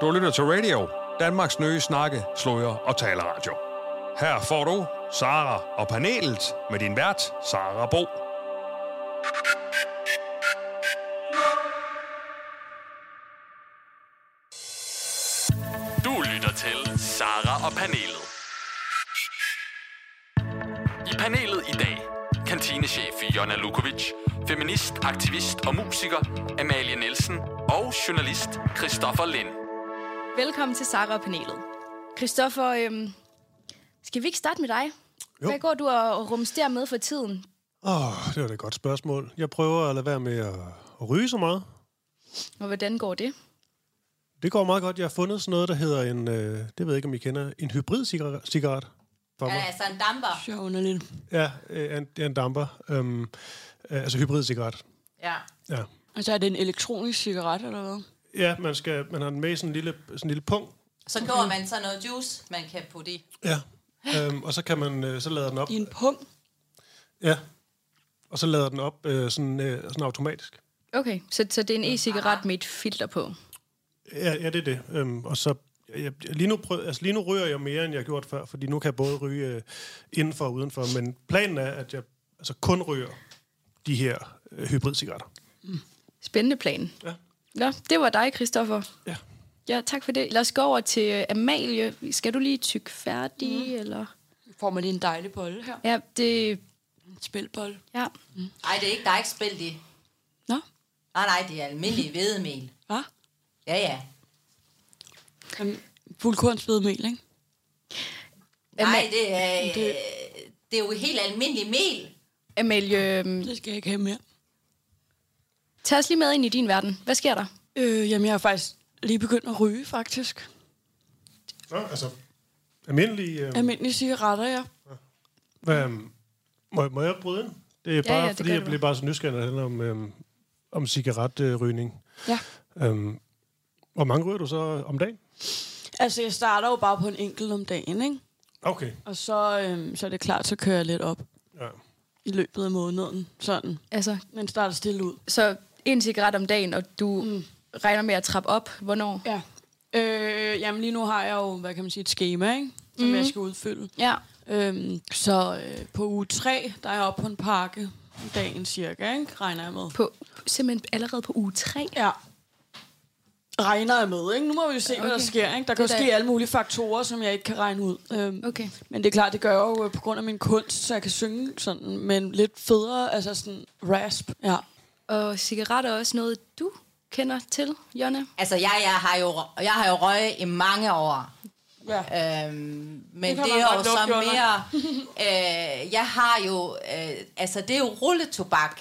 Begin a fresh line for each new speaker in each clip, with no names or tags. Du lytter til Radio, Danmarks nye snakke, sløjer og taleradio. Her får du Sara og panelet med din vært, Sara Bo.
Du lytter til Sara og panelet. I panelet i dag, kantinechef Jonna Lukovic, feminist, aktivist og musiker Amalie Nielsen og journalist Christoffer Lind.
Velkommen til Sara og panelet. Christoffer, øhm, skal vi ikke starte med dig? Jo. Hvad går du og og rumsterer med for tiden?
Åh, oh, det var da et godt spørgsmål. Jeg prøver at lade være med at, at ryge så meget.
Og hvordan går det?
Det går meget godt. Jeg har fundet sådan noget, der hedder en, øh, det ved jeg ikke, om I kender, en hybrid-cigaret. For mig.
Ja, altså en damper.
Så underligt.
Ja, øh, en, en damper. Øhm, øh, altså hybrid-cigaret.
Ja.
Ja.
Altså er det en elektronisk cigaret eller hvad?
ja, man, skal, man har den med i sådan en lille, sådan en lille punkt.
Så går man så noget juice, man kan putte i.
Ja. Øhm, og så kan man, øh, så lader den op.
I en pung?
Ja. Og så lader den op øh, sådan, øh, sådan automatisk.
Okay, så, så det er en e-cigaret med et filter på.
Ja, ja det er det. Øhm, og så, jeg, jeg- lige, nu prøv, altså, lige nu ryger jeg mere, end jeg har gjort før, fordi nu kan jeg både ryge øh, indenfor og udenfor, men planen er, at jeg altså, kun ryger de her øh, hybridcigaretter.
Spændende plan.
Ja.
Nå, det var dig, Christoffer.
Ja.
Ja, tak for det. Lad os gå over til øh, Amalie. Skal du lige tykke færdig, mm. eller?
Får man lige en dejlig bolle her?
Ja, det...
En spilbolle.
Ja.
Ej, det er ikke, der er ikke spændt i.
Nå,
Nej, nej, det er almindelig hvedemel.
hvad?
Ja, ja.
Jamen, Fuldkornsbedemel, ikke?
Nej, det er, det... det er jo helt almindelig mel.
Amalie, øhm,
Det skal jeg ikke have mere.
tag os lige med ind i din verden. Hvad sker der?
Øh, jamen, jeg har faktisk lige begyndt at ryge, faktisk.
Nå, altså, almindelige... Øh,
Almindelige cigaretter, ja.
hvad, øh, må, må jeg bryde ind? Det er bare,
ja,
ja,
det
det fordi
gør
jeg
du
bliver bare så nysgerrig, når det handler om, øh, om cigaretrygning.
Ja.
Øhm, hvor mange ryger du så om dagen?
Altså, jeg starter jo bare på en enkelt om dagen, ikke?
Okay.
Og så, øhm, så er det klart, så kører jeg lidt op
Ja.
i løbet af måneden. Sådan.
Altså,
Men starter stille ud.
så en cigaret om dagen, og du mm. regner med at trappe op. Hvornår?
Ja. Øh, jamen, lige nu har jeg jo, hvad kan man sige, et schema, ikke? Som mm. jeg skal udfylde.
Ja.
Øhm, så øh, på uge 3, der er jeg oppe på en pakke om dagen cirka, ikke? regner jeg med.
På, simpelthen allerede på uge 3.
Ja. Regner jeg med, ikke? Nu må vi jo se, okay. hvad der
Okay.
sker, ikke? Der
Det
kan jo
er da-
ske alle mulige faktorer, som jeg ikke kan regne ud. Øhm,
Okay.
Men det er klart, det gør jeg jo øh, på grund af min kunst, så jeg kan synge sådan, men lidt federe, altså sådan rasp. Ja.
Og cigaretter er også noget, du kender til, Jonna.
Altså, jeg, jeg, har, jo, jeg har jo røget i mange år.
ja.
Øhm, men
Det
det,
kan
det
man
er jo
godt
så
lugte under.
mere... øh, jeg har jo... Øh, altså, det er jo rulletobak.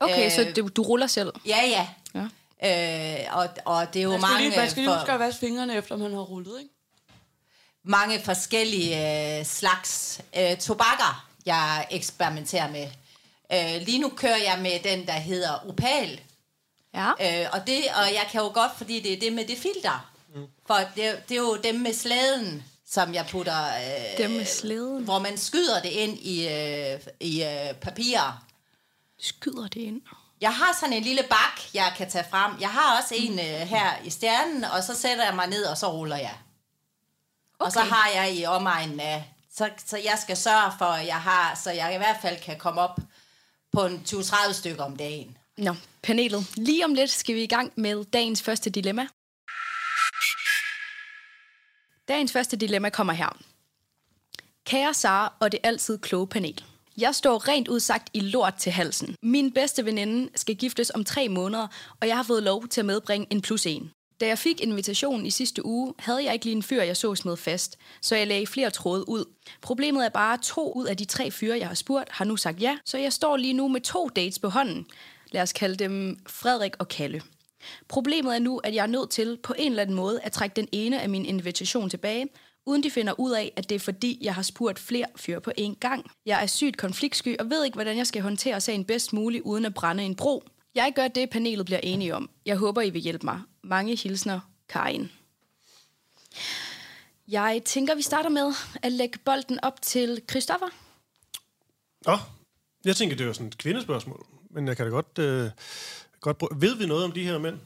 Okay, øh,
Øh,
så du, du ruller selv.
Ja, ja.
Ja.
Øh, og, og det er jo
Man skal
mange... øh,
lige, man skal lige
for-
huske at vaske fingrene, efter man har rullet, ikke?
mange forskellige øh, slags øh, tobakker, jeg eksperimenterer med. Øh, lige nu kører jeg med den, der hedder opal.
Ja.
Øh, og, det, og jeg kan jo godt, fordi det er det med det filter. For det, det er jo dem med slæden, som jeg putter... Øh,
Dem med slæden.
Hvor man skyder det ind i, øh, i øh, papir.
Skyder det ind.
Jeg har sådan en lille bak, jeg kan tage frem. Jeg har også en øh, her i stjernen, og så sætter jeg mig ned, og så ruller jeg. Okay. Og så
Okay.
har jeg i omegnen af... Så, så jeg skal sørge for, at jeg har, så jeg i hvert fald kan komme op på en 20-30 stykker om dagen.
Nå, panelet. Lige om lidt skal vi i gang med dagens første dilemma. Dagens første dilemma kommer her. Kære Sara og det altid kloge panel. Jeg står rent ud sagt i lort til halsen. Min bedste veninde skal giftes om tre måneder, og jeg har fået lov til at medbringe en plus en. Da jeg fik invitationen i sidste uge, havde jeg ikke lige en fyr, jeg så smed fast, så jeg lagde flere tråde ud. Problemet er bare, at to ud af de tre fyre, jeg har spurgt, har nu sagt ja, så jeg står lige nu med to dates på hånden. Lad os kalde dem Frederik og Kalle. Problemet er nu, at jeg er nødt til på en eller anden måde at trække den ene af min invitation tilbage, uden de finder ud af, at det er fordi, jeg har spurgt flere fyre på én gang. Jeg er sygt konfliktsky og ved ikke, hvordan jeg skal håndtere sagen bedst muligt uden at brænde en bro. Jeg gør det, panelet bliver enige om. Jeg håber, I vil hjælpe mig. Mange hilsner, Karin. Jeg tænker, vi starter med at lægge bolden op til Christoffer.
Nå, jeg tænker, det var sådan et kvindespørgsmål, men jeg kan da godt... Øh, godt bruge. Ved vi noget om de her mænd?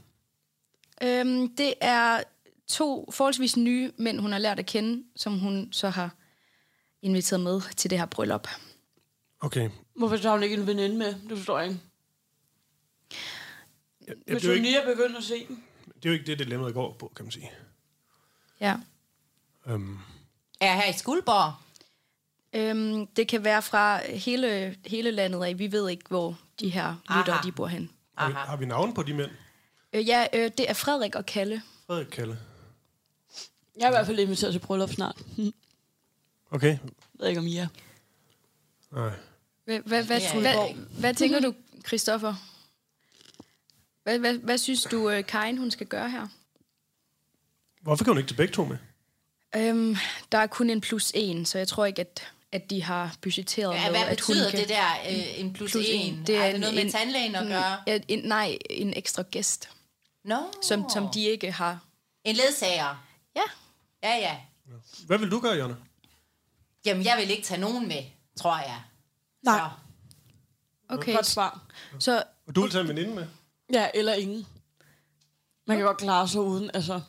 Øhm, det er to forholdsvis nye mænd, hun har lært at kende, som hun så har inviteret med til det her bryllup.
Okay.
Hvorfor tager hun ikke en veninde med? Det forstår jeg ikke.
Ja,
Hvis
det, er jo
hun
ikke,
lige er begyndt at se den.
det er jo ikke det, dilemmaet går på, kan man sige.
Ja.
Um,
Er her i Skuldborg.
Øhm, det kan være fra hele, hele landet af. Vi ved ikke, hvor de her lyttere
Aha.
de bor hen.
har, vi,
Aha.
har vi navn på de mænd?
Øh, ja, øh, det er Frederik og Kalle.
Frederik Kalle.
Jeg er i hvert fald inviteret til bryllup snart. Hm.
Okay.
ved ikke, om I er.
Nej.
Hvad, hvad, hvad,
Ja,
hvad, hvad, hvad tænker du, Christoffer? Hvad, hvad, hvad synes du, øh, Karin, hun skal gøre her?
Hvorfor kan hun ikke til begge to med?
Øhm, der er kun en plus en, så jeg tror ikke, at, at de har budgetteret
Ja,
med,
hvad
at hun
betyder
kan...
det der, øh, en plus, plus en? Det er, er det noget med tandlægen at gøre?
En, en, nej, en ekstra gæst,
No.
som, som de ikke har.
En ledsager.
Ja.
Ja, ja.
Hvad vil du gøre, Jonna?
Jamen, jeg vil ikke tage nogen med, tror jeg.
Nej.
Så.
Okay,
Godt svar.
så
Og du vil tage en veninde med?
Ja, eller ingen. Man kan godt klare sig uden, altså...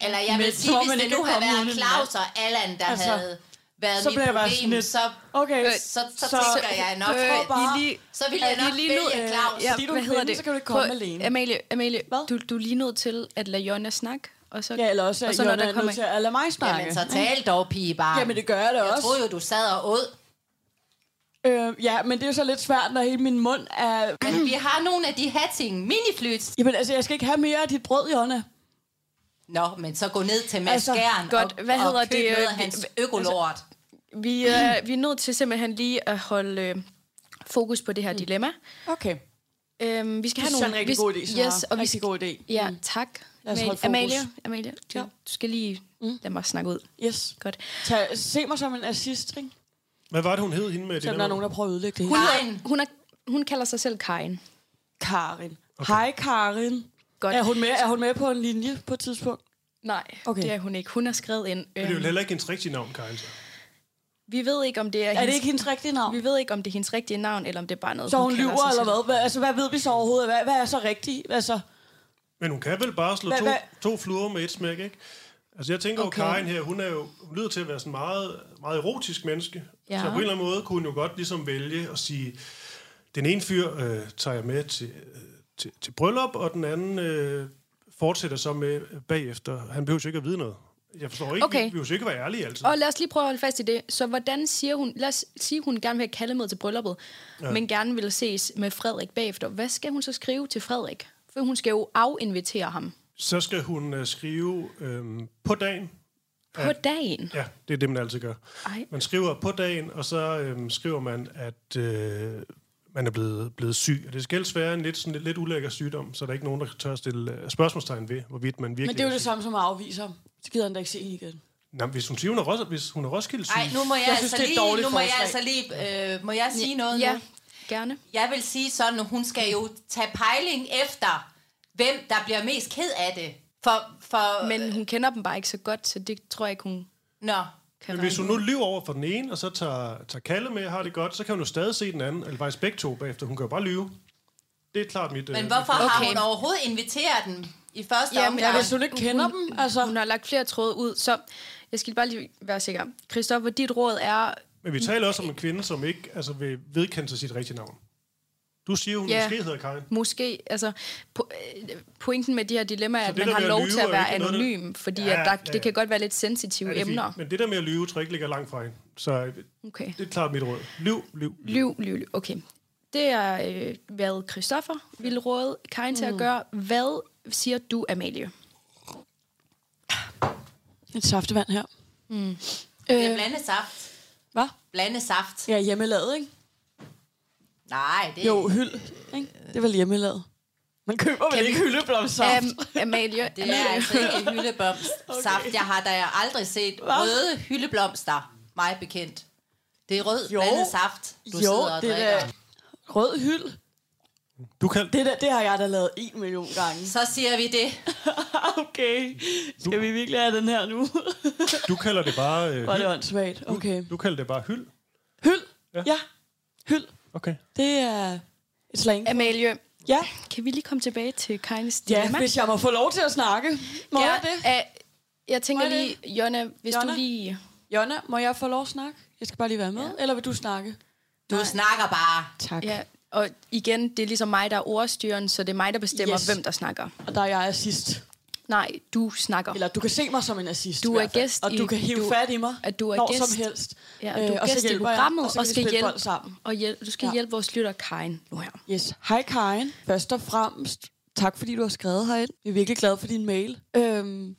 Eller jeg
Men
vil
så
sige,
må
hvis
man
det
ikke
nu havde
komme
været
uden en
Claus og Allan, der
Altså,
altså, havde været
så
så
bliver
mit
jeg bare sådan
problem,
lidt-
så,
Okay,
så, så, så tænker jeg nok,
Øh,
at
I lige-
så ville jeg
er I
nok
lige nød-
vælge
øh,
Claus.
Fordi du er kvinde, så kan du ikke komme alene.
Amalie, Amalie
Hvad?
Du, du er lige nødt til at lade Jonna snakke, og så,
Ja, eller også,
og
at
så
Jonna
når
er
der
nødt
kommer...
til at lade mig snakke.
Jamen, så tal dog, pige, bare.
Jamen, det gør jeg da
jeg
også.
troede jo, du sad og åd.
Øh, ja, men det er jo så lidt svært, når hele min mund er...
Men vi har nogle af de her ting. Miniflyts.
Jamen, altså, jeg skal ikke have mere af dit brød, Jonna.
Nå, men så gå ned til Mads
Altså,
altså, Gern
godt,
og,
hvad hedder
og køb
det,
noget
øh,
af hans
vi-
økolort. Altså,
Vi, øh, vi er nødt til simpelthen lige at holde øh, fokus på det her dilemma.
Okay.
Øhm, vi skal
Mm. Det
have
er
nogle...
en rigtig
vi-
god idé, Sara.
yes, og vi
Rigtig
skal,
god idé. Mm.
Ja, tak.
Lad os holde fokus.
Amalie, Amalie du,
Ja. Mm.
ja. du skal lige lade mig snakke ud.
Yes.
Godt.
Tag, se mig som en assist, ikke?
Hvad var det, hun hed hende med? i
Selvom der
dilemmaet?
er nogen, der prøver at ødelægge det
hun
hele.
er,
Hun, er, hun kalder sig selv Karin.
Karin. Okay. Hej, Karin.
Godt.
Er hun, med, er hun med på en linje på et tidspunkt?
Nej,
Okay.
okay. det er hun ikke. Hun har skrevet ind.
Men Det er
Øhm,
jo heller ikke hendes rigtige navn, Karin. så.
vi ved ikke, om det er,
Er det ikke hendes rigtige navn?
Vi ved ikke, om det er hendes rigtige navn, eller om det er bare noget,
Så hun
kalder
lyver,
sig
eller
selv.
hvad? hvad? Altså, hvad ved vi så overhovedet? Hvad, hvad er så rigtigt? Altså,
Men hun kan vel bare slå
Hvad-
to,
hvad-
to fluer med et smæk, ikke? Altså, jeg tænker
Okay.
okay. jo, Karin her, hun, er jo, hun lyder til at være sådan meget, meget erotisk menneske.
Ja.
Ja. Så på en eller anden måde kunne hun jo godt ligesom vælge at sige, den ene fyr øh, tager jeg med til, øh, til, til bryllup, og den anden øh, fortsætter så med øh, bagefter. Han behøver jo ikke at vide noget. Jeg forstår ikke,
Okay.
okay. vi behøver jo ikke at være ærlige altså. altid.
Og lad os lige prøve at holde fast i det. Så hvordan siger hun, lad os sige, hun gerne vil have Kalle med til brylluppet, ja. men gerne vil ses med Frederik bagefter. Hvad skal hun så skrive til Frederik? For hun skal jo afinvitere ham
Så skal hun øh, skrive øh, på dagen.
på dagen.
Ja, det er det, man altid gør.
Ej.
Man skriver på dagen, og så øhm, skriver man, at øh, man er blevet, blevet syg. Og det skal helst være en lidt, sådan, lidt, lidt ulækker sygdom, så der er ikke nogen, der tør at stille øh, spørgsmålstegn ved, hvorvidt man virkelig
men det er jo det
syg.
samme som at afvise ham. Så gider han da ikke se hende igen.
Nå, men hvis hun siger, hun er, Ros- hvis hun er Roskilde syg,
ej, nu må jeg,
Jeg
jeg
synes,
altså
det er et
lige,
dårligt
nu må jeg
forslag.
altså lige, øh, må jeg sige noget
Ja,
nu?
gerne.
Jeg vil sige sådan, at hun skal jo tage pejling efter, hvem der bliver mest ked af det. For, for, Men,
Men
øh,
hun kender dem bare ikke så godt, så det tror jeg ikke, hun
nå,
kan
men hvis hun
regne
nu lyver over for den ene, og så tager, tager Kalle med og har det godt, så kan hun jo stadig se den anden, eller faktisk begge to bagefter. Hun kan jo bare lyve. Det er klart mit...
men
øh,
hvorfor okay. har
Okay.
hun overhovedet inviteret den i første
Jamen,
Jamen,
Ja,
omgang?
hvis hun ikke kender
hun-
dem, altså...
ud. Hun har lagt flere tråde ud, så jeg skal bare lige være sikker. Christoffer, dit råd er...
Men vi taler også om en kvinde, som ikke altså, vil vedkende sig sit rigtige navn. Du siger, hun
Ja.
yeah. måske hedder Karin.
Måske, altså po- øh, pointen med de her dilemmaer er, at
det
man
der
har
med at
lov
lyve
til at
er
være
ikke noget, der-
anonym, fordi
Ja,
at der,
ja,
det
ja.
kan godt være lidt sensitive
Ja, det er
emner.
fint. Men det der med at lyve, tror jeg ikke ligger langt fra hende. Så øh,
Okay.
det er klart mit råd. Lyv, lyv, lyv.
Lyv, lyv, lyv. Okay. Det er, øh, hvad Christoffer ville råde Karin
Mm.
til at gøre. Hvad siger du, Amalie?
Et saftevand her. Øh,
Det er blande saft.
Hvad?
Blande saft.
Ja, hjemmelavet, ikke?
Nej, det
Jo, hyld. Ikke? Det er vel hjemmelavet. Man køber vel ikke hyldeblomstsaft? Um,
Am- Amalie,
Det er altså ikke hyldeblomstsaft. Okay. Jeg har da aldrig set røde hyldeblomster, mig bekendt. Det er rød
Jo.
blandet saft, du
jo,
sidder og
det
drikker.
er da rød hyld.
Du kan,
Det, der, det har jeg da lavet en million gange.
Så siger vi det.
Okay, skal vi virkelig have den her nu?
du kalder det bare... Øh,
Var det
hyld.
åndssvagt? Okay.
Du kalder det bare hyld.
Hyld? Ja.
Ja.
ja. Hyld.
Okay.
Det er et slang.
Amalie,
Ja,
Kan vi lige komme tilbage til Kajnes dilemma?
ja hvis jeg må få lov til at snakke. Må ja. jeg det?
Ja, øh, jeg tænker
Må jeg
lige, Jonna, hvis
Jonna?
du lige...
Jonna, må jeg få lov at snakke? Jeg skal bare lige være med. Ja. Eller vil du snakke?
Du Nej. snakker bare.
Tak.
Ja, og igen, det er ligesom mig, der er ordstyren, så det er mig, der bestemmer,
Yes.
yes. hvem der snakker.
Og der er jeg assist.
Nej, du snakker.
Eller du kan se mig som en assist.
Du
i
er
hvert fald.
gæst
Og
i-
du kan hive
du-
fat i mig.
at du er
når
gæst.
som helst.
Ja, og du
Øh,
er gæst i
hjælper jeg,
programmet,
og så,
og skal
hjælpe
hjælpe,
bold sammen.
og hjælp, du skal
Ja.
ja. hjælpe vores lytter Karin nu her.
Yes. Hej Karen. Først og fremmest, tak fordi du har skrevet herind. Jeg er virkelig glad for din mail. Øhm,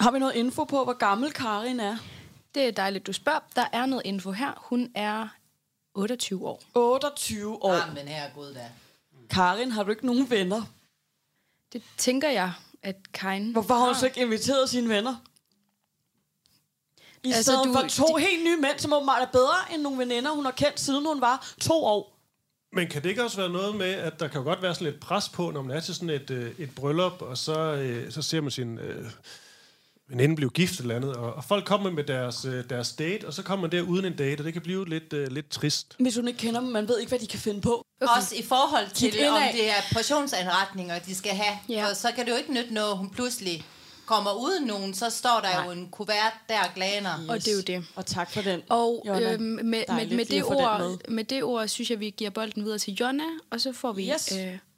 har vi noget info på, hvor gammel Karin er?
Det er dejligt, du spørger. Der er noget info her. Hun er 28 år.
28 år.
Jamen her, Gud da.
Karin, har du ikke nogen venner?
Det tænker jeg, at Karin...
Hvorfor har hun så ikke inviteret sine venner? I
Altså,
altså, stedet
du-
for to
de-
helt nye mænd, som åbenbart er bedre end nogle veninder, hun har kendt, siden hun var to år.
Men kan det ikke også være noget med, at der kan jo godt være sådan lidt pres på, når man er til sådan et, øh, et bryllup, og så, øh, så ser man sin øh, veninde blive gift eller andet, og, og folk kommer med deres, øh, deres date, og så kommer man der uden en date, og det kan blive lidt, øh, lidt trist.
Hvis hun ikke kender dem, man ved ikke, hvad de kan finde på.
Også i forhold
Kig
til,
indad.
om det er portionsanretninger, de skal have.
Ja.
Ja. Og så kan det jo ikke nytte noget, hun pludselig kommer uden nogen, så står der Nej. jo en kuvert der og glaner.
Og det er jo det.
Og tak for den,
Og
Jonna.
øhm, med, med,
Dejligt
med,
lige
det
at få den
ord,
med.
med. det ord, synes jeg, vi giver bolden videre til Jonna, og så får vi...
Yes.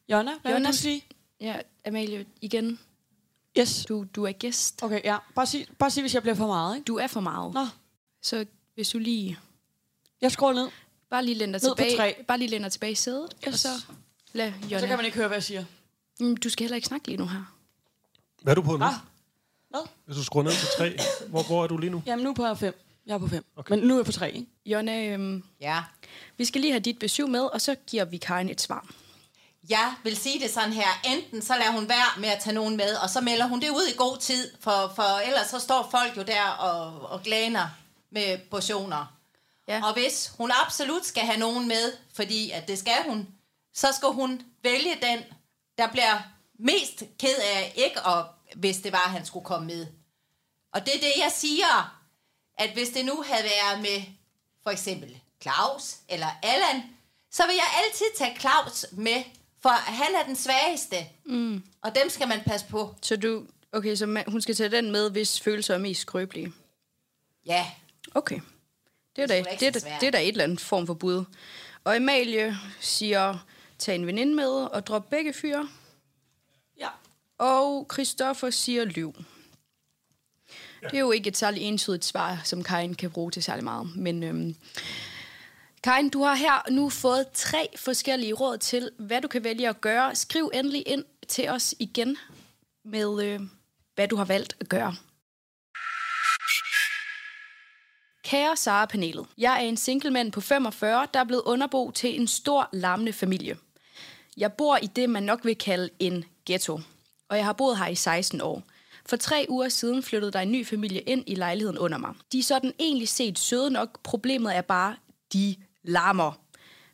Jonna, hvad vil
Jonna-
du sige?
ja, Amalie, igen,
Yes.
du, du er gæst.
Okay, ja. Bare sig, bare sig, hvis jeg bliver for meget, ikke?
Du er for meget.
Nå,
Så hvis du lige...
jeg skruer ned.
Bare lige lænder
Ned på tre.
tilbage, bare lige lænder tilbage i sædet, yes. og
Yes.
så lad
Så
Jonna...
kan man ikke høre, hvad jeg siger.
Mm, Du skal heller ikke snakke lige nu her.
Hvad er du på nu?
Ah. Hvad?
Hvis du skruer ned til tre, hvor, hvor er du lige nu?
Jamen, nu er jeg på fem. Jeg er på fem. Okay. Men nu er jeg på tre, ikke?
Jonna, øhm,
Ja.
vi skal lige have dit besøg med, og så giver vi Karin et svar.
Jeg vil sige det sådan her. Enten så lader hun være med at tage nogen med, og så melder hun det ud i god tid, for, for ellers så står folk jo der og, og glaner med portioner.
Ja.
Og hvis hun absolut skal have nogen med, fordi at det skal hun, så skal hun vælge den, der bliver mest ked af ikke, og hvis det var, at han skulle komme med. Og det er det, jeg siger, at hvis det nu havde været med for eksempel Claus eller Allan, så vil jeg altid tage Claus med, for han er den svageste. Mm. Og dem skal man passe på.
Så du... Okay, så man, hun skal tage den med, hvis følelser er mest skrøbelige.
Ja,
Okay. Det er, da,
Det er sgu
det,
da ikke
er
så
da,
svært.
det er da et eller andet form for bud. Og Amalie siger, tag en veninde med og drop begge fyre.
Ja.
Og Christoffer siger lyv. Det er jo ikke et særligt entydigt svar, som Karin kan bruge til særlig meget. Men øhm, Karin, du har her nu fået tre forskellige råd til, hvad du kan vælge at gøre. Skriv endelig ind til os igen med, øh, hvad du har valgt at gøre. Kære Sara panelet, jeg er en singlemand på 45, der er blevet underbo til en stor, larmende familie. Jeg bor i det, man nok vil kalde en ghetto, og jeg har boet her i 16 år. For tre uger siden flyttede der en ny familie ind i lejligheden under mig. De er sådan egentlig set søde nok, problemet er bare, de larmer.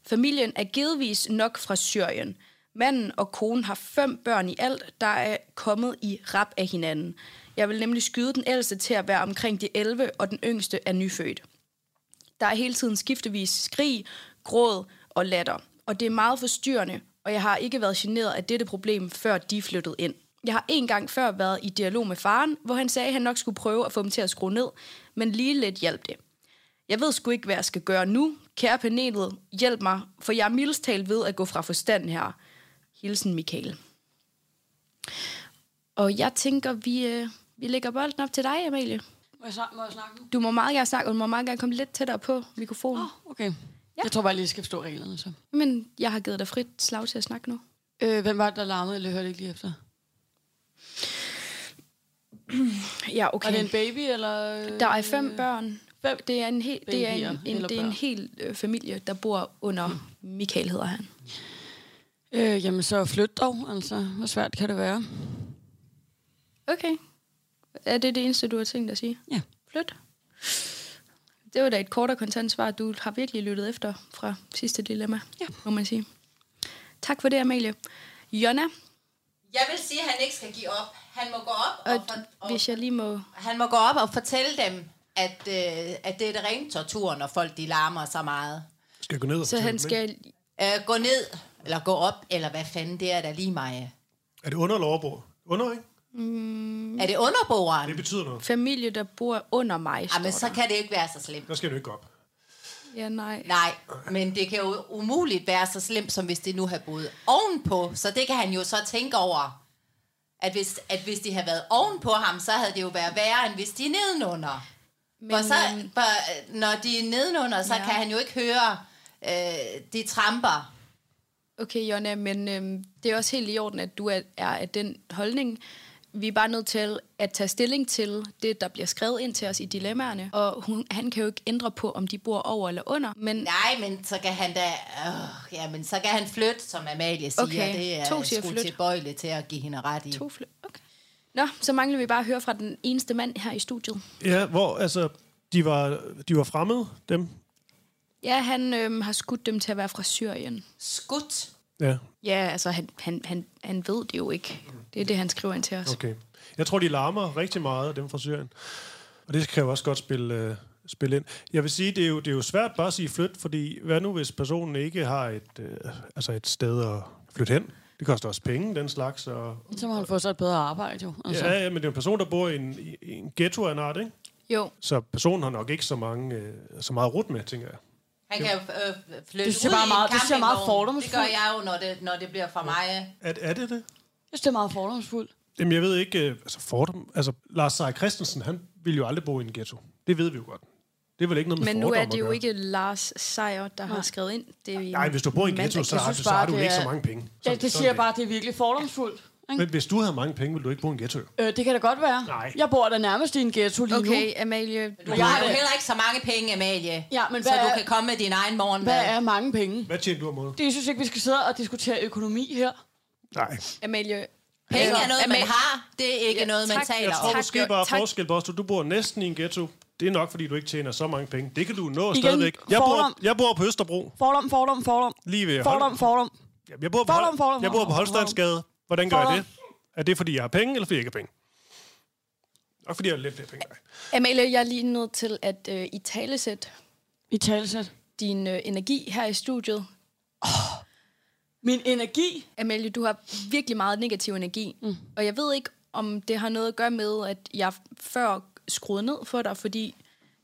Familien er givetvis nok fra Syrien. Manden og konen har fem børn i alt, der er kommet i rap af hinanden. Jeg vil nemlig skyde den ældste til at være omkring de 11, og den yngste er nyfødt. Der er hele tiden skiftevis skrig, gråd og latter. Og det er meget forstyrrende, og jeg har ikke været generet af dette problem, før de flyttede ind. Jeg har en gang før været i dialog med faren, hvor han sagde, at han nok skulle prøve at få dem til at skrue ned, men lige lidt hjalp det. Jeg ved sgu ikke, hvad jeg skal gøre nu. Kære panelet, hjælp mig, for jeg er mildest talt ved at gå fra forstand her. Hilsen Michael. Og jeg tænker, vi, øh, vi lægger bolden op til dig, Amalie.
Må jeg, snak, må jeg snakke nu?
Du må meget gerne snakke, og du må meget gerne komme lidt tættere på mikrofonen.
Åh, oh, okay. Ja. Jeg tror bare lige, jeg skal forstå reglerne, så.
Men jeg har givet dig frit slag til at snakke nu.
Øh, hvem var det, der larmede, eller hørte ikke lige efter?
Ja,
Var det
okay.
en baby, eller... øh,
Der er fem børn.
Fem?
Det er en hel, det er en,
Babyer
en,
eller
det er en
børn.
hel øh, familie, der bor under Michael, hedder han.
Øh, jamen, så flyt dog, altså. Hvor svært kan det være?
Okay. Er det det eneste, du har tænkt at sige?
Ja.
Flyt. Det var da et kort og kontant svar. Du har virkelig lyttet efter fra sidste dilemma,
Ja.
må man sige. Tak for det, Amalie. Jonna,
jeg vil sige, at han ikke skal give op. Han må gå op og,
og,
for, og
hvis jeg lige må...
han må gå op og fortælle dem, at, øh, at det er det rene tortur, når folk de larmer så meget.
Skal jeg gå ned og
Så
fortælle
han
dem,
skal...
Øh, gå ned, eller gå op, eller hvad fanden, det er da lige mig.
Er det under eller overbord? Under, ikke?
Mm. Er det underbogeren?
Det betyder noget.
Familie, der bor under mig, står
Jamen, så
der.
kan det ikke være så slemt.
Der skal du ikke op.
Ja, nej.
Nej, men det kan jo umuligt være så slemt, som hvis det nu havde boet ovenpå. Så det kan han jo så tænke over. At hvis, at hvis de havde været ovenpå ham, så havde det jo været værre, end hvis de er nedenunder. Men, for så,
øhm,
for, øh, når de er nedenunder, så
Ja.
ja. kan han jo ikke høre øh, de tramper.
Okay, Jonna, men øhm, det er også helt i orden, at du er, er af den holdning. Vi er bare nødt til at tage stilling til det, der bliver skrevet ind til os i dilemmaerne. Og hun, han kan jo ikke ændre på, om de bor over eller under. Men
Nej, men så kan han da... Øh, ja, men så kan han flytte, som Amalie siger.
Okay,
Det
to
er
siger
sgu
flyt.
tilbøjelig til at give hende ret i.
to fly... Okay. Nå, så mangler vi bare at høre fra den eneste mand her i studiet.
Ja, hvor altså, de var, de var fremmede, dem.
Ja, han øhm, har skudt dem til at være fra Syrien.
Skudt.
Ja,
Ja, altså, han, han, han, han ved det jo ikke. Det er det, han skriver ind til os. Okay.
okay. Jeg tror, de larmer rigtig meget, dem fra Syrien. Og det kan jo også godt spille, øh, spille ind. Jeg vil sige, det er, jo, det er jo svært bare at sige flyt, fordi hvad nu, hvis personen ikke har et, øh, altså et sted at flytte hen? Det koster også penge, den slags. Og,
Så må han få sig et bedre arbejde, jo. Altså.
ja, ja, men det er jo en person, der bor i en, i, i en ghetto af en art, ikke?
Jo,
Så personen har nok ikke så, mange, øh, så meget rundt med, tænker jeg.
Han kan jo øh, flytte
Det synes jeg
ud
bare
i en
meget- det synes jeg er meget
campingvogn. Det gør
fordomsfuldt.
jeg jo, når det, når det bliver for mig.
Er, er det det?
Jeg synes, det er meget fordomsfuldt.
Jamen, jeg ved ikke, øh, altså fordom, altså Lars Seier Christensen, han ville jo aldrig bo i en ghetto. Det ved vi jo godt. Det er vel ikke noget med
men nu
fordom
er
at
det jo
gøre.
ikke Lars Seier, der har skrevet ind. Det er
Nej, hvis du bor i en
mand,
ghetto,
der-
så,
Jeg
har,
synes
så
bare,
har du
det
ikke
er-
så mange penge. Så,
Det, det siger jeg bare, det er virkelig fordomsfuldt. Ikke?
Men hvis du havde mange penge, ville du ikke bo i en ghetto. jo.
Øh, det kan da godt være.
Nej.
Jeg bor da nærmest i en ghetto lige nu.
Okay, Amalie.
Du har jo heller ikke så mange penge, Amalie.
Ja, men
så
hvad
du
er-
kan komme med din egen morgenmad.
Hvad er mange penge?
Hvad tjener du om måneden?
Det jeg synes ikke, vi skal sidde og diskutere økonomi her.
Nej.
Amalie.
Penge er
Altså,
noget, man
Amalie-
har. Det er ikke
Ja,
noget, man
tak.
taler
Jeg
om.
tror
Tak,
måske
jo.
bare
Tak.
forskel på os. Du- Du bor næsten i en ghetto. Det er nok, fordi du ikke tjener så mange penge. Det kan du nå
Igen,
stadigvæk. Jeg bor,
fordom.
jeg bor på Østerbro.
Fordom, fordom, fordom.
Lige ved
Fordom, fordom.
Jamen, Jeg bor på,
Fordom, fordom,
jeg bor på
fordom,
Holsteinsgade. Hvordan gør jeg
Fordom.
det? Er det, fordi jeg har penge, eller fordi jeg ikke har penge? Og fordi jeg har lidt flere penge. end dig.
Amalie, jeg er lige nødt til at øh, i talesæt
I talsæt.
din øh, energi her i studiet.
Min energi.
Amalie, du har virkelig meget negativ energi, mm. og jeg ved ikke, om det har noget at gøre med, at jeg før skruede ned for dig, fordi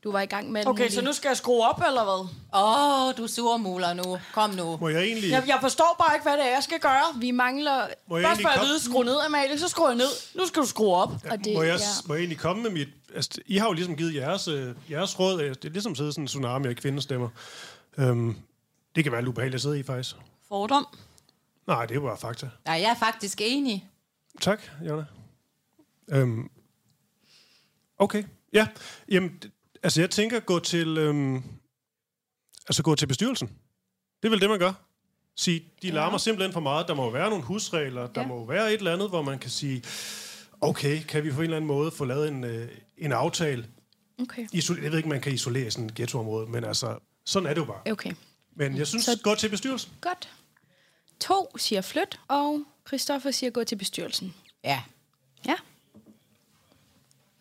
du var i gang med... alt
Okay,
muligt.
så nu skal jeg skrue op, eller hvad?
Åh, oh, du surmuler nu. Kom nu.
Må jeg egentlig...
Jeg, jeg forstår bare ikke, hvad det er, jeg skal gøre.
Vi mangler...
Må jeg
Først
egentlig
får jeg at
komme,
vide, skru ned, Amalie, så skruer jeg ned. Nu skal du skrue op.
Og det,
må jeg,
ja.
må jeg egentlig komme med mit... Altså, I har jo ligesom givet jeres, øh, jeres råd. øh, Det er ligesom siddet sådan en tsunami af kvindestemmer. Øhm, det kan være lidt ubehageligt at sidde i, faktisk.
Fordom.
Nej, det er bare fakta.
Nej, jeg er faktisk enig.
Tak, Jonna. Øhm, okay, ja. Jamen, d- altså jeg tænker gå til, øhm, altså gå til bestyrelsen. Det er vel det, man gør. Sige, de larmer simpelthen for meget. Der må jo være nogle husregler. Der
Ja.
må jo være et eller andet, hvor man kan sige, okay, kan vi på en eller anden måde få lavet en, øh, en aftale?
Okay.
Isol- jeg ved ikke, man kan isolere sådan et ghettoområde, men altså, sådan er det jo bare.
Okay,
Men jeg synes,
Så-
gå til bestyrelsen.
godt. To siger flyt, og Christoffer siger gå til bestyrelsen.
Ja.
Ja.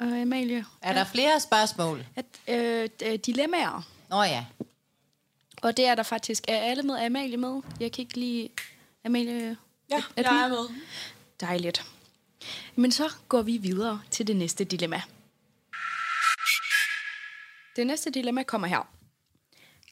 Og Amalie,
Er der flere spørgsmål?
at, øh, d- øh, dilemmaer.
Nå ja.
Og det er der faktisk. Er alle med? Er Amalie med? Jeg kan ikke lige... Amalie...
Ja,
er du
jeg er med.
Dejligt. Men så går vi videre til det næste dilemma. Det næste dilemma kommer her.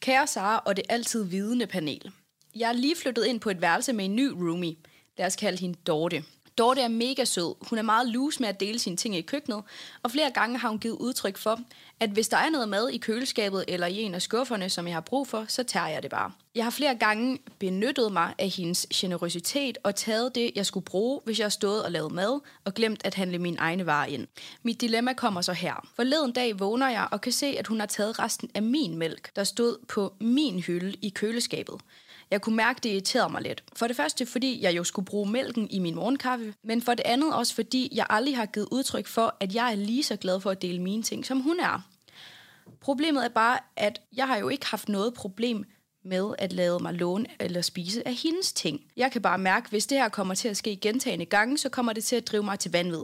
Kære Sara og det altid vidende panel. Jeg er lige flyttet ind på et værelse med en ny roomie. Lad os kalde hende Dorte. Dorte er mega sød. Hun er meget loose med at dele sine ting i køkkenet, og flere gange har hun givet udtryk for, at hvis der er noget mad i køleskabet eller i en af skufferne, som jeg har brug for, så tager jeg det bare. Jeg har flere gange benyttet mig af hendes generøsitet og taget det, jeg skulle bruge, hvis jeg har stået og lavet mad, og glemt at handle mine egne varer ind. Mit dilemma kommer så her. Forleden dag vågner jeg og kan se, at hun har taget resten af min mælk, der stod på min hylde i køleskabet. Jeg kunne mærke, det irriterede mig lidt. For det første, fordi jeg jo skulle bruge mælken i min morgenkaffe, men for det andet også, fordi jeg aldrig har givet udtryk for, at jeg er lige så glad for at dele mine ting, som hun er. Problemet er bare, at jeg har jo ikke haft noget problem med at lade mig låne eller spise af hendes ting. Jeg kan bare mærke, at hvis det her kommer til at ske gentagende gange, så kommer det til at drive mig til vanvid.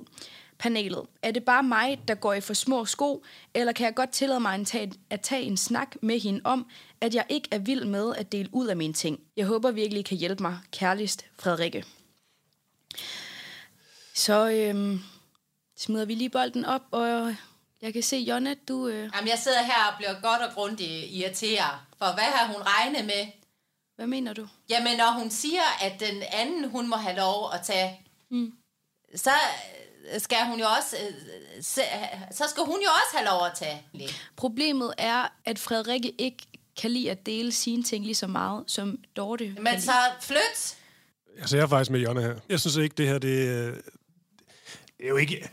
panelet. Er det bare mig, der går i for små sko, eller kan jeg godt tillade mig at tage, at tage en snak med hende om, at jeg ikke er vild med at dele ud af mine ting? Jeg håber virkelig, I kan hjælpe mig. Kærligst, Frederikke. Så øhm, smider vi lige bolden op, og jeg kan se, Jonna, du... Øh,
Jamen, jeg sidder her og bliver godt og grundigt irriteret. For hvad har hun regnet med?
hvad mener du?
Jamen, når hun siger, at den anden, hun må have lov at tage, mm. så øh, skal hun jo også, øh, se- så skal hun jo også have lov at tage lidt.
Problemet er, at Frederikke ikke kan lide at dele sine ting lige så meget, som Dorte kan
Men
lide.
så flyt.
Altså, jeg er faktisk med Jonna her. Jeg synes ikke, det her, det, øh, det er jo ikke...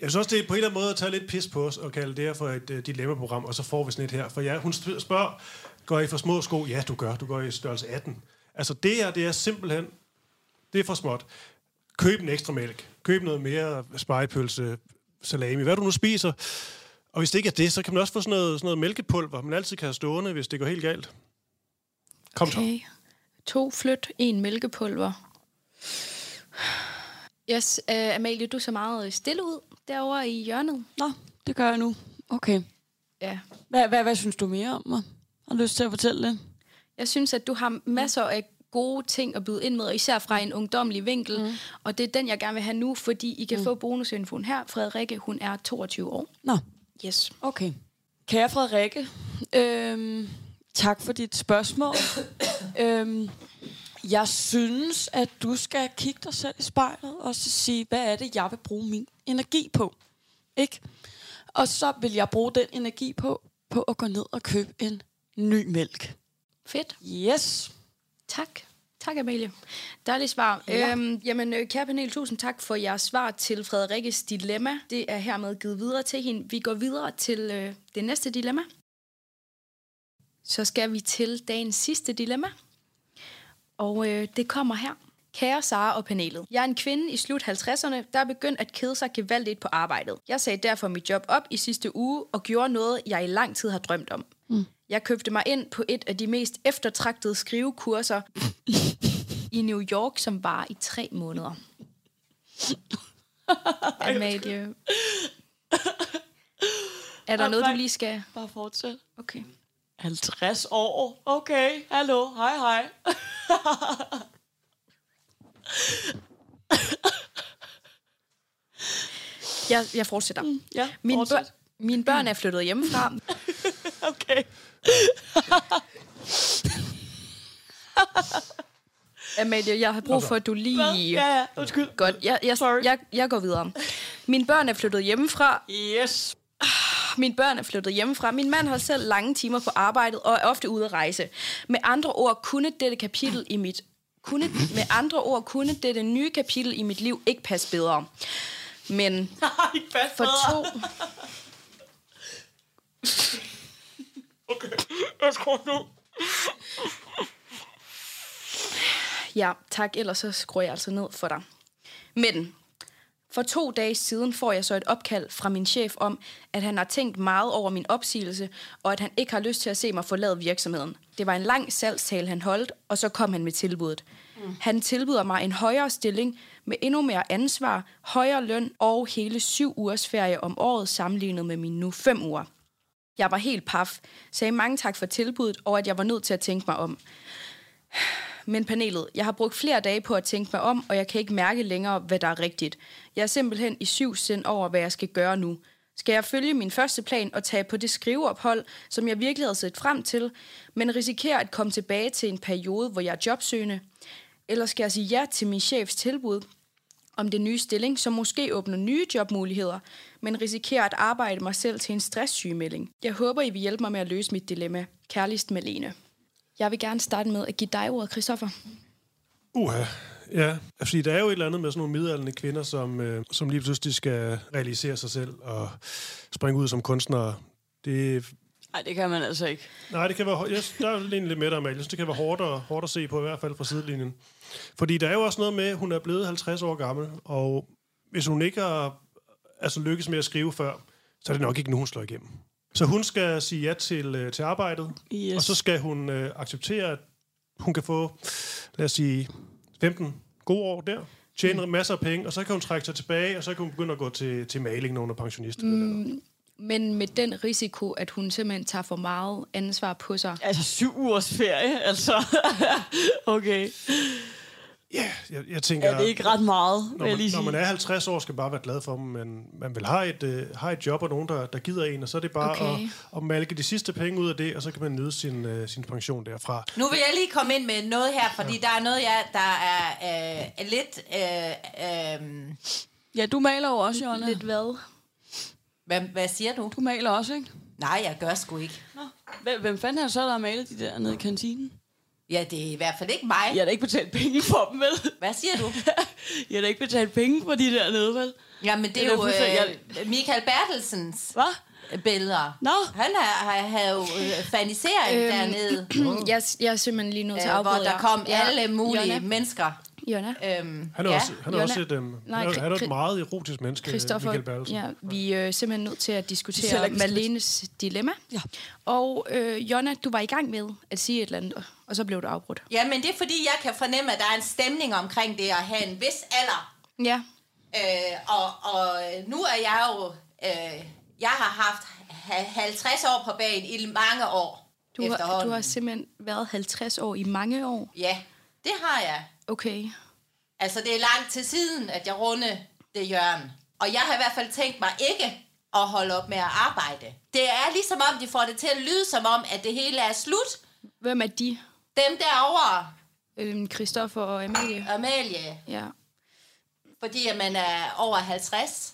Jeg synes også, det er på en eller anden måde at tage lidt pis på os og kalde det her for et uh, dilemmaprogram, og så får vi sådan et her. For ja, hun sp- spørger, går I for små sko? Ja, du gør. Du går i størrelse 18. Altså, det her, det er simpelthen... Det er for småt. Køb en ekstra mælk. Køb noget mere spejepølse, salami, hvad du nu spiser. Og hvis det ikke er det, så kan man også få sådan noget, sådan noget mælkepulver, man altid kan have stående, hvis det går helt galt. Kom så.
Okay. To flyt, en mælkepulver. Yes, uh, Amalie, du så meget stille ud derovre i hjørnet.
Nå, det gør jeg nu. Okay.
Ja.
Hvad, hvad, hvad synes du mere om mig? Har du lyst til at fortælle det?
Jeg synes, at du har masser af gode ting at byde ind med, og især fra en ungdomlig vinkel. Mm. Og det er den, jeg gerne vil have nu, fordi I kan mm. få bonusinfoen her. Frederikke, hun er 22 år.
Nå,
Yes.
okay. Kære Frederikke, øhm, tak for dit spørgsmål. øhm, jeg synes, at du skal kigge dig selv i spejlet og så sige, hvad er det, jeg vil bruge min energi på? Ikke? Og så vil jeg bruge den energi på, på at gå ned og købe en ny mælk.
Fedt.
Yes.
Tak. Tak, Amalie. Dejligt svar. Ja. Øhm, jamen, øh, kære panel, tusind tak for jeres svar til Frederikkes dilemma. Det er hermed givet videre til hende. Vi går videre til øh, det næste dilemma. Så skal vi til dagens sidste dilemma. Og øh, det kommer her. Kære Sara og panelet. Jeg er en kvinde i slut 50'erne, der er begyndt at kede sig gevaldigt på arbejdet. Jeg sagde derfor mit job op i sidste uge og gjorde noget, jeg i lang tid har drømt om. Mm. Jeg købte mig ind på et af de mest eftertragtede skrivekurser i New York, som var i tre måneder. Amalie. Er der
Ej,
noget, du
nej.
lige skal...
Bare fortsæt.
Okay.
50 år. Okay, hallo, hej hej.
Jeg, jeg fortsætter.
Ja,
Mine,
Mm. fortsæt.
bør- mine børn er flyttet hjemmefra.
Okay.
Amalie, jeg har brug for, at du
Hvad?
lige...
Ja, ja, undskyld.
Godt, jeg, jeg,
Sorry.
jeg, jeg går videre. Mine børn er flyttet hjemmefra.
Yes.
Mine børn er flyttet hjemmefra. Min mand har selv lange timer på arbejdet og er ofte ude at rejse. Med andre ord kunne dette kapitel i mit kunne, med andre ord kunne dette nye kapitel i mit liv ikke passe bedre. Men
Ej, fast
for to,
Jeg tror nu.
Ja, tak. Ellers så skruer jeg altså ned for dig. Men for to dage siden får jeg så et opkald fra min chef om, at han har tænkt meget over min opsigelse, og at han ikke har lyst til at se mig forlade virksomheden. Det var en lang salgstale, han holdt, og så kom han med tilbuddet. Mm. Han tilbyder mig en højere stilling med endnu mere ansvar, højere løn og hele syv ugers ferie om året sammenlignet med mine nu fem uger. Jeg var helt paf, sagde mange tak for tilbuddet, og at jeg var nødt til at tænke mig om. Men panelet, jeg har brugt flere dage på at tænke mig om, og jeg kan ikke mærke længere, hvad der er rigtigt. Jeg er simpelthen i syv sind over, hvad jeg skal gøre nu. Skal jeg følge min første plan og tage på det skriveophold, som jeg virkelig havde set frem til, men risikerer at komme tilbage til en periode, hvor jeg er jobsøgende? Eller skal jeg sige ja til min chefs tilbud om den nye stilling, som måske åbner nye jobmuligheder, men risikerer at arbejde mig selv til en stresssygemelding? Jeg håber, I vil hjælpe mig med at løse mit dilemma. Kærligst Malene. Jeg vil gerne starte med at give dig ordet, Christoffer.
Uha, ja. Altså, Fordi der er jo et eller andet med sådan nogle midalderne kvinder, som, øh, som lige pludselig skal realisere sig selv og springe ud som kunstnere. Det,
Nej, det kan man altså ikke.
nej, det kan være, hår- jeg, der er egentlig lidt med dig, Amalie. Jeg synes, Det kan være hårdt, at, hårdt at se på, i hvert fald fra sidelinjen. Fordi der er jo også noget med, at hun er blevet 50 år gammel, og hvis hun ikke har altså, lykkes med at skrive før, så er det nok ikke nu, hun slår igennem. Så hun skal sige ja til, øh, til arbejdet,
Yes.
og så skal hun øh, acceptere, at hun kan få, lad os sige, 15 gode år der.
Mm.
tjene masser af penge, og så kan hun trække sig tilbage, og så kan hun begynde at gå til, til maling, når hun er pensionist. Mm.
Men med den risiko, at hun simpelthen tager for meget ansvar på sig.
Altså syv ugers ferie, altså. okay.
Ja, jeg, jeg tænker...
Er det ikke ret meget,
Når
vil jeg lige
man, når
sige.
man er 50 år, skal man bare være glad for dem, men man vil have et, øh, have et job og nogen, der, der gider en, og så er det bare
Okay.
okay. at, at malke de sidste penge ud af det, og så kan man nyde sin, øh, sin pension derfra.
Nu vil jeg lige komme ind med noget her, fordi der er noget, jeg, der er, øh, er lidt... Øh, øh,
Ja, du maler jo også, Jonna.
Lidt hvad?
hvad, hvad siger du?
Du maler også, ikke?
Nej, jeg gør sgu ikke.
Nå. Hvem, hvem fanden har så, der har malet de der nede i kantinen?
Ja, det er i hvert fald ikke mig.
Jeg har da ikke betalt penge for dem, vel?
Hvad siger du?
jeg har da ikke betalt penge for de der nede, vel?
Jamen, det
Det
er
er
jo
fuldstændig-
øh, Michael Bertelsens
Hvad?
billeder.
Nå.
Han har, har, har jo øh, fanisering øhm,
Øhm,
dernede,
Jeg, jeg er simpelthen lige nødt til at
øh,
afbryde
hvor der
jer.
kom
Ja,
alle mulige
Jonna,
mennesker.
Jonna.
Øhm,
Han er
ja.
også, han er
Jonna-
også et, øhm,
Nej,
han er, han er
Kri-
et meget erotisk menneske, Christoffer, Michael
Christoffer, ja,
Berlsen.
vi er øh, simpelthen nødt til at
selv
diskutere
ikke beskrive-
Malenes dilemma.
Ja.
Og øh, Jonna, du var i gang med at sige et eller andet, og så blev du afbrudt.
ja, men det er fordi, jeg kan fornemme, at der er en stemning omkring det at have en vis alder.
Ja,
Øh, og, og nu er jeg jo... Øh, jeg har haft ha- 50 år på bagen i mange år
du har,
efterhånden.
du har simpelthen været 50 år i mange år.
Ja, det har jeg.
Okay.
Altså, det er langt til siden, at jeg runde det hjørne. Og jeg har i hvert fald tænkt mig ikke at holde op med at arbejde. Det er ligesom om, de får det til at lyde som om, at det hele er slut.
Hvem er de?
Dem derovre,
Øhm, Christoffer og Amalie.
Amalie,
Ja.
fordi at man er over 50,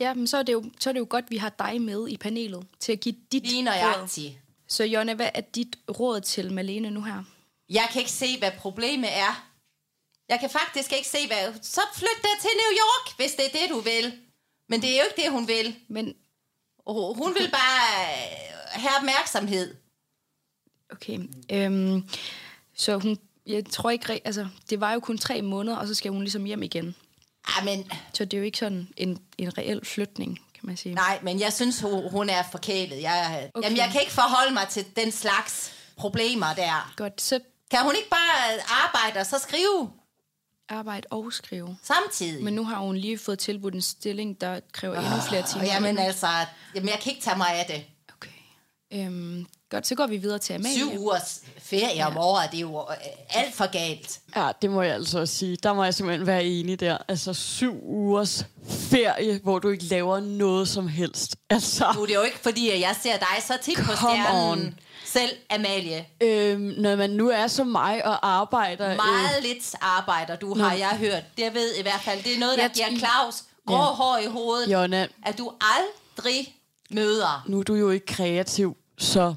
Ja, men så er, det jo, så er det jo godt, at vi har dig med i panelet til at give dit
lige nøjagtigt.
Så Jonna, hvad er dit råd til Malene nu her?
Jeg kan ikke se, hvad problemet er. Jeg kan faktisk ikke se, hvad... Så flyt dig til New York, hvis det er det, du vil. Men det er jo ikke det, hun vil.
Men
Hun- Hun vil bare øh, have opmærksomhed.
Okay. Øhm, så hun, jeg tror ikke, ri- altså, det var jo kun tre måneder, og så skal hun ligesom hjem igen.
Ah, men
Så det er jo ikke sådan en, en reel flytning, kan man sige.
Nej, men jeg synes, hun, hun er forkælet. Jeg, okay.
Okay.
Jamen, jeg kan ikke forholde mig til den slags problemer der.
Godt, så
Kan hun ikke bare øh, arbejde og så skrive
arbejde og skrive.
samtidig?
Men nu har hun lige fået tilbudt en stilling, der kræver endnu flere timer.
og jamen altså, jamen, jeg kan ikke tage mig af det.
Okay. Øhm, godt, så går vi videre til Amalie.
Syv ugers ferie om året, det er jo øh, alt for galt.
Ja, det må jeg altså også sige. Der må jeg simpelthen være enig der. Altså syv ugers ferie, hvor du ikke laver noget som helst.
Nu er
Altså,
det jo ikke, fordi at jeg ser dig så tit på
Come
stjernen.
on.
Selv Amalie.
øhm, når man nu er som mig og arbejder... øh,
Meget lidt arbejder du, har jeg hørt. Det ved i hvert fald. Det er noget, der
Jeg-
giver Claus grå
Ja.
hår i hovedet.
Øh, Jonna,
At du aldrig møder.
nu er du jo ikke kreativ, så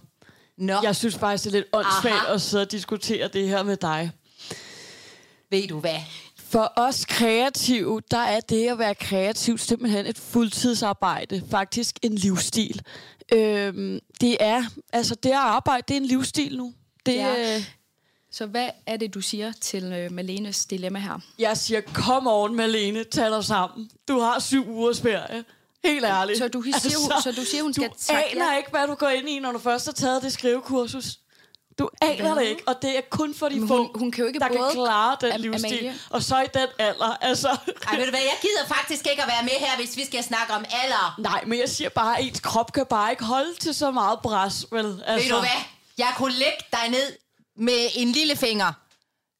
Nå.
jeg synes faktisk, det er lidt åndssvagt
Aha.
at sidde og diskutere det her med dig.
Ved du hvad?
For os kreative, der er det at være kreativ simpelthen et fuldtidsarbejde. Faktisk en livsstil. Øhm, det er, altså det at arbejde, det er en livsstil nu. Det,
Ja.
ja. øh,
Så hvad er det, du siger til øh, Malenes dilemma her?
Jeg siger, kom on, Malene, tag dig sammen. Du har syv ugers ferie. Helt ærligt. Altså,
Så du siger,
Altså,
hun- så du siger, hun skal
Du
takke
aner
ja?
ikke, hvad du går ind i, når du først har taget det skrivekursus. Du aner
Hvad?
det ikke, og det er kun for de
Men
få,
hun- hun kan jo ikke
der kan
både-
klare den
Am-
livsstil.
Amalie?
Og så i den alder, altså...
Ej, ved du hvad, jeg gider faktisk ikke at være med her, hvis vi skal snakke om alder. Altså.
Nej, men jeg siger bare, at ens krop kan bare ikke holde til så meget bræs, vel? Altså,
Ved du hvad? Jeg kunne lægge dig ned med en lille finger.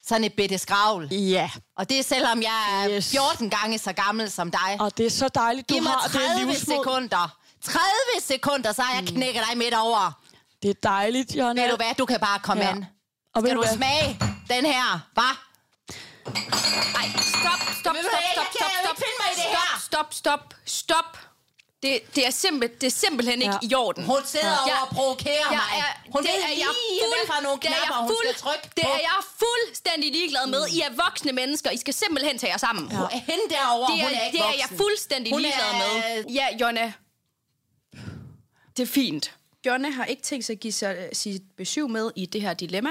Sådan et bitte skravl.
Ja,
Og det er selvom jeg er
Yes.
14 gange så gammel som dig.
og det er så dejligt, du
Giv mig
har det
30
livsmod.
sekunder. 30 sekunder, så har jeg
Mm.
knækket dig midt over.
Det er dejligt, Jonna.
Ved du hvad, du kan bare komme
Ja.
ja. an.
Og ved
Skal
du
du
hvad?
smage den her, hva?
Ej, stop, stop,
Ved du
stop,
hvad,
stop,
jeg kan
stop,
jo
stop,
ikke finde mig i det
stop,
her.
stop, stop, stop. Det, det, er simpel, det er simpelthen ikke
Ja.
i orden.
Hun sidder ja. over
Jeg-
og provokerer
jeg
mig.
er-
Hun
det
ved
er
lige,
jeg fuld-
hvad for nogle
det er jeg
knapper, hun skal
fuld-
trykke
Det
på.
er jeg fuldstændig ligeglad med. I er voksne mennesker. I skal simpelthen tage jer sammen. Ja.
Hun- Hende derovre,
Det er,
hun er ikke
det er
voksen.
jeg fuldstændig
Hun er-
ligeglad med. Ja, Jonna. Det er fint. Jonna har ikke tænkt sig at give sig, øh, sit besøg med i det her dilemma.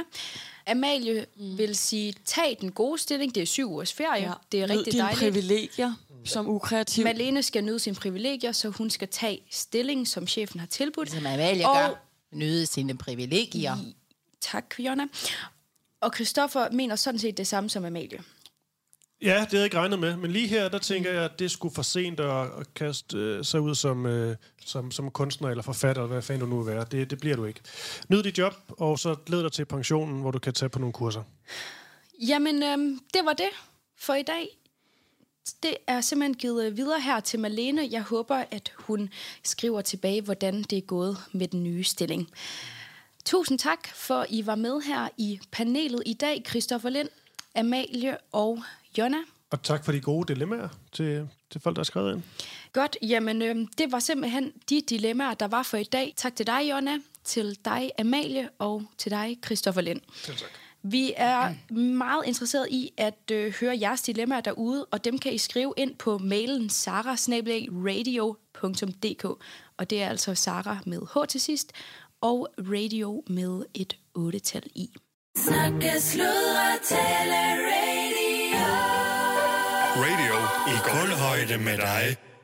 Amalie mm. vil sige, tag den gode stilling. Det er syv ugers ferie. Ja. Det er
Nyd
rigtig
dine
dejligt.
privilegier som ukreativ.
Malene skal nyde sine privilegier, så hun skal tage stilling, som chefen har tilbudt.
Som Amalie
og,
gør. Nyde sine privilegier.
Tak, Jonna. Og Christoffer mener sådan set det samme som Amalie.
Ja, det havde jeg ikke regnet med, men lige her, der tænker jeg, at det skulle for sent at, at kaste øh, sig ud som, øh, som, som kunstner eller forfatter, eller hvad fanden du nu vil være. Det, det bliver du ikke. Nyd dit job, og så led dig til pensionen, hvor du kan tage på nogle kurser.
Jamen, øhm, det var det for i dag. Det er simpelthen givet øh, videre her til Malene. Jeg håber, at hun skriver tilbage, hvordan det er gået med den nye stilling. Tusind tak for, I var med her i panelet i dag. Christoffer Lind, Amalie og Jonna.
Og tak for de gode dilemmaer til, til folk, der har skrevet ind.
Godt, jamen øh, det var simpelthen de dilemmaer, der var for i dag. Tak til dig, Jonna, til dig, Amalie, og til dig, Christoffer Lind. Selv tak. Vi er meget interesseret i at øh, høre jeres dilemmaer derude, og dem kan I skrive ind på mailen sarasnabelagradio.dk og det er altså Sara med H til sidst, og radio med et 8-tal i.
Snakke, sludre, tale, radio.
Radio
I kulhøjde med dig.